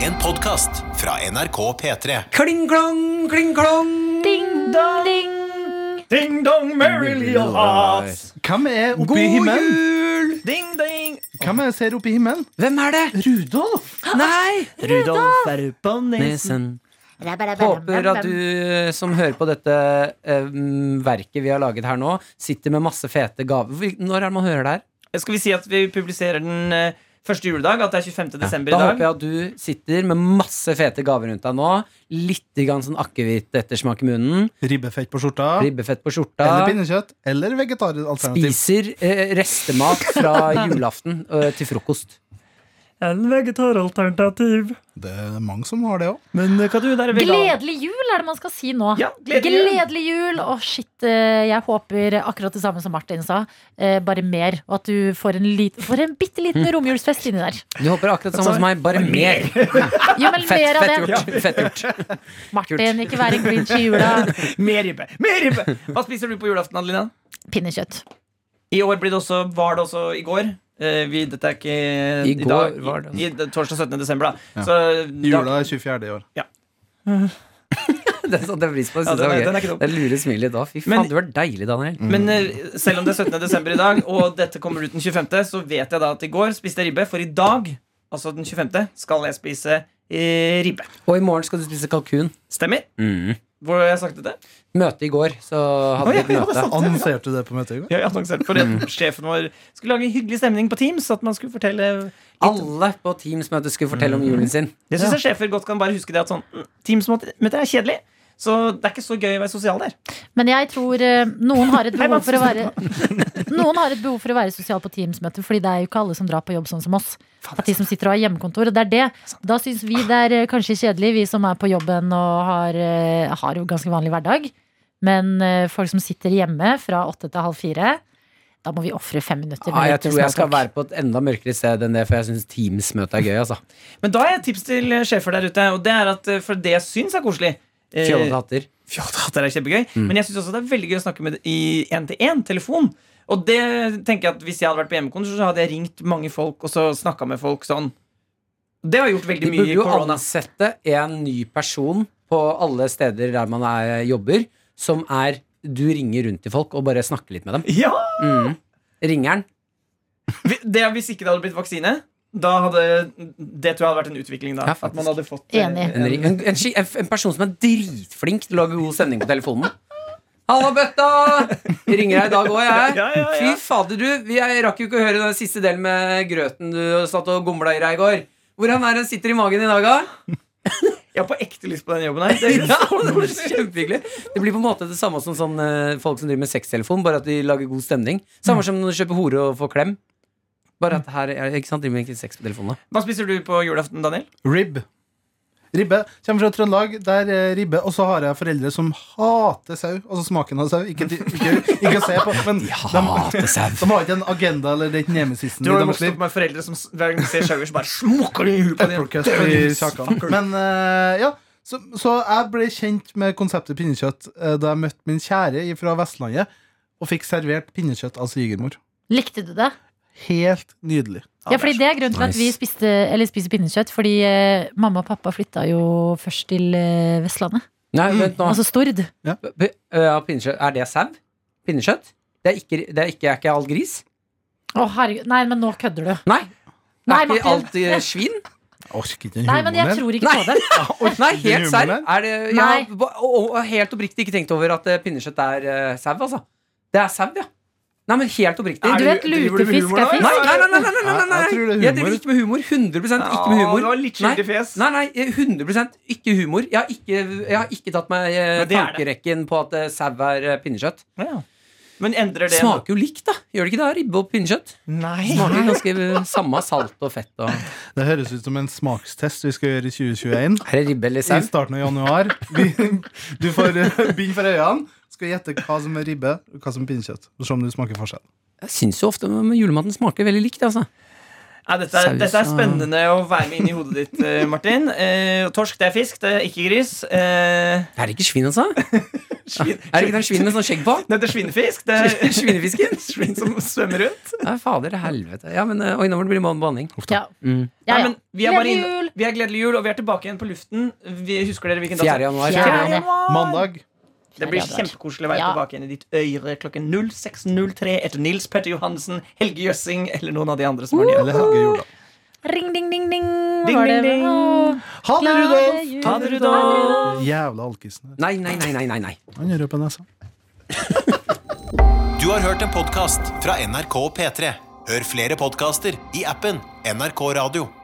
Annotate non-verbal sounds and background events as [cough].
En podcast fra NRK P3 Kling klong, kling klong. Ding, ding. Ding dong, merry little hearts. Hvem er oppe i God himmelen? jul! Ding ding. Hvem er jeg ser oppe i himmelen? Hvem er det? Rudolf! Nei! Rudolf er oppe på nesen. Nesen. Håper at du eh, som hører på dette eh, verket vi har laget her nå, sitter med masse fete gaver. Hvor- Når er det man hører det her? Skal vi si at vi publiserer den eh, første juledag? At det er 25. desember Da i håper dag? jeg at du sitter med masse fete gaver rundt deg nå. Litt grann sånn akevitt ettersmak i munnen. Ribbefett på skjorta. Ribbefett på skjorta. Eller pinnekjøtt. Eller vegetaralternativ. Spiser eh, restemat fra julaften eh, til frokost. En vegetaralternativ. Det er mange som har det òg. Men eh, hva du der er vegan? Gledelig jul er det man skal si nå. Ja, gledelig jul. jul. Å, shit. eh, Jeg håper akkurat det samme som Martin sa, eh, bare mer. Og at du får en, lit, får en bitte [laughs] liten romjulsfest inni der. Du håper akkurat samme som meg, bare mer. Jo, men Fett, mer av fett det. gjort. Fett gjort. [laughs] Martin, ikke vær en grinch i jula. [laughs] Mer ribbe! Mer ribbe! Hva spiser du på julaften, Adelina? Pinnekjøtt. I år blir det også, var det også i går. Eh, vi, dette er ikke eh, I i går dag. var det. altså. I, i, torsdag 17. desember, da. Ja. Så Jula er 24. i år. Det satte jeg pris på. Det Ja, synes den er- jeg den er var ikke dum. gøy. Det lure smilet da. Fy Men- faen, du var deilig, Daniel. Men eh, selv om det er 17. desember i dag, og dette kommer ut den 25., så vet jeg da at i går spiste jeg ribbe, for i dag, altså den 25., skal jeg spise eh, ribbe. Og i morgen skal du spise kalkun. Stemmer? Hvor har jeg sagt dette? Møte i går, så Mm. hadde vi et møte. Mm. Annonserte du det på møtet i går? Jeg annonserte for at sjefen vår skulle lage en hyggelig stemning på Teams. At man skulle fortelle Alle på Teams-møtet skulle fortelle om Mm. julen sin. Jeg syns sjefer godt kan bare huske det at sånn mm, Teams-møter er kjedelig. Så det er ikke så gøy å være sosial der. Men jeg tror eh, noen har et Hei, behov for å være Mats. [laughs] Noen har et behov for å være sosial på Teams-møter, Fordi det er jo ikke alle som drar på jobb sånn som oss. At de som sitter og har hjemmekontor. Og det er det. Da syns vi det er eh, kanskje kjedelig, vi som er på jobben og har, eh, har jo ganske vanlig hverdag. Men eh, folk som sitter hjemme fra åtte til halv fire, da må vi ofre fem minutter. med Ah, jeg litt tror jeg skal småtalk. være på et enda mørkere sted enn det, for jeg syns Teams-møtet er gøy. altså Men da har jeg et tips til eh, sjefer der ute, og det er at eh, for det jeg syns er koselig eh, Fjollete hatter. Fjollehatter er kjempegøy. Mm. Men jeg syns også det er veldig gøy å snakke med det i én-til-én-telefon. Og det tenker jeg at Hvis jeg hadde vært på hjemmekontor, så hadde jeg ringt mange folk og så snakka med folk sånn. Det har jeg gjort De veldig mye burde i jo korona. ansette en ny person på alle steder der man er, jobber, som er Du ringer rundt til folk og bare snakker litt med dem. Ja! Mm. Ringeren. Vi- Det, hvis ikke det hadde blitt vaksine, da hadde det tror jeg hadde vært en utvikling da. Ja, faktisk. at man hadde fått eh, Enig. En, ring- en, en, ski- en, en person som er dritflink til å lage god stemning på telefonen. Halla, bøtta! Vi ringer deg i dag òg, jeg. Ja, ja, ja. Fy fader, du. Vi- Jeg rakk jo ikke å høre den siste delen med grøten du satt og gomla i deg i går. Hvordan er den sitter i magen i dag, da? [laughs] Jeg har på ekte lyst på den jobben her. Det er Ja, så det blir koselig. kjempehyggelig. Det blir på en måte det samme som sånn, eh, folk som driver med sextelefon, bare at de lager god stemning. Samme som når du kjøper hore og får klem. Bare at her er- ikke sant, driver med ikke sex på telefonen. da. Hva spiser du på julaften, Daniel? Rib. Ribbe. Kommer fra Trøndelag. Der er ribbe. Og så har jeg foreldre som hater sau. Altså smaken av sau. Ikke, ikke, ikke å se på, men de, Hater sau. de har ikke en agenda eller den nemesisen Du i har jo deres vokst liv. opp med foreldre som s- hver gang de ser sauer, så bare smukker de i huet på dem. Applecast i kjakan. Men eh, ja så, så jeg ble kjent med konseptet pinnekjøtt eh, da jeg møtte min kjære fra Vestlandet og fikk servert pinnekjøtt av svigermor. Likte du det? Helt nydelig. Ja, fordi det er grunnen til at vi Nice. spiste, eller spiser pinnekjøtt. Fordi eh, mamma og pappa flytta jo først til eh, Vestlandet. Nei, vent nå. Altså Stord. P- ja, pinnekjøtt. Er det sau? Pinnekjøtt? Det er ikke, det er ikke, er ikke all gris? Å herregud, nei, men nå kødder du. Nei. Nei, er ikke Martin. alt eh, svin? Orker ikke den Nei, men jeg humoren. tror ikke på [laughs] det. Nei, helt humoren serr. der? Er det- Jeg Nei. har ba- og, og helt oppriktig ikke tenkt over at eh, pinnekjøtt er eh, sau, altså. Det er sau, ja. Nei, men helt oppriktig. Er Du vet, driver du med lutefisk humor er nå, fisk. Nei, eller? nei, nei, nei, nei, nei, nei, nei. Jeg tror det er Jeg driver humor. ikke med humor. 100 ikke med Ja, det var humor. litt Nei. skyldig fjes. Nei, nei, 100 ikke humor. Jeg har ikke, jeg har ikke tatt meg eh, Men det er det. tankerekken på at eh, sau er eh, pinnekjøtt. Ja. Men endrer det Smaker jo likt, da. Gjør det ikke det? Ribbe og pinnekjøtt. Nei. Smaker ganske eh, samme salt og fett og Det høres ut som en smakstest vi skal gjøre i 2021. Er det ribbe eller I starten av januar. Vi- [laughs] Du får eh, bind for øynene. Skal gjette hva som er ribbe og hva som er pinnekjøtt. Og Se om du smaker forskjell. Jeg syns jo ofte men julematen smaker veldig likt, altså. Nei, dette, er, Saus Ah. dette er og- spennende å være med inn i hodet ditt, eh, Martin. Eh, torsk det er fisk, det er ikke gris. Eh, Det er ikke svin, altså. Svin, Er det ikke den svinen med sånn skjegg på? Nei, det er [laughs] svinefisk. Det er Svinefisken? svin som svømmer rundt. Nei, fader helvete. Ja, men eh, oi, nå må det bli mann behandling. Ja. Mm. Ja, Nei, ja. men vi er bare Gledelig inne- jul! Vi er gledelig jul, og vi er tilbake igjen på luften. Vi husker dere 4. hvilken dato? januar. Fjerde. Fjerde januar. Mandag. Det blir Fjerde januar. kjempekoselig å være Ja. tilbake igjen i ditt øre klokken 06.03 etter Nils Petter Johansen, Helge Jøssing eller noen av de andre som har Eller nyheter. Helge Jordal. Ring, ding, ding, ding. Ding, Var ding, det- ding. Åh, Ha det, Rudolf! glade Ha det, jul. Rudolf! Jævla alkisen. Nei, nei, nei, nei, nei, nei. Han gjør opp i nesa. Du har hørt en podkast fra NRK P3. Hør flere podkaster i appen NRK Radio.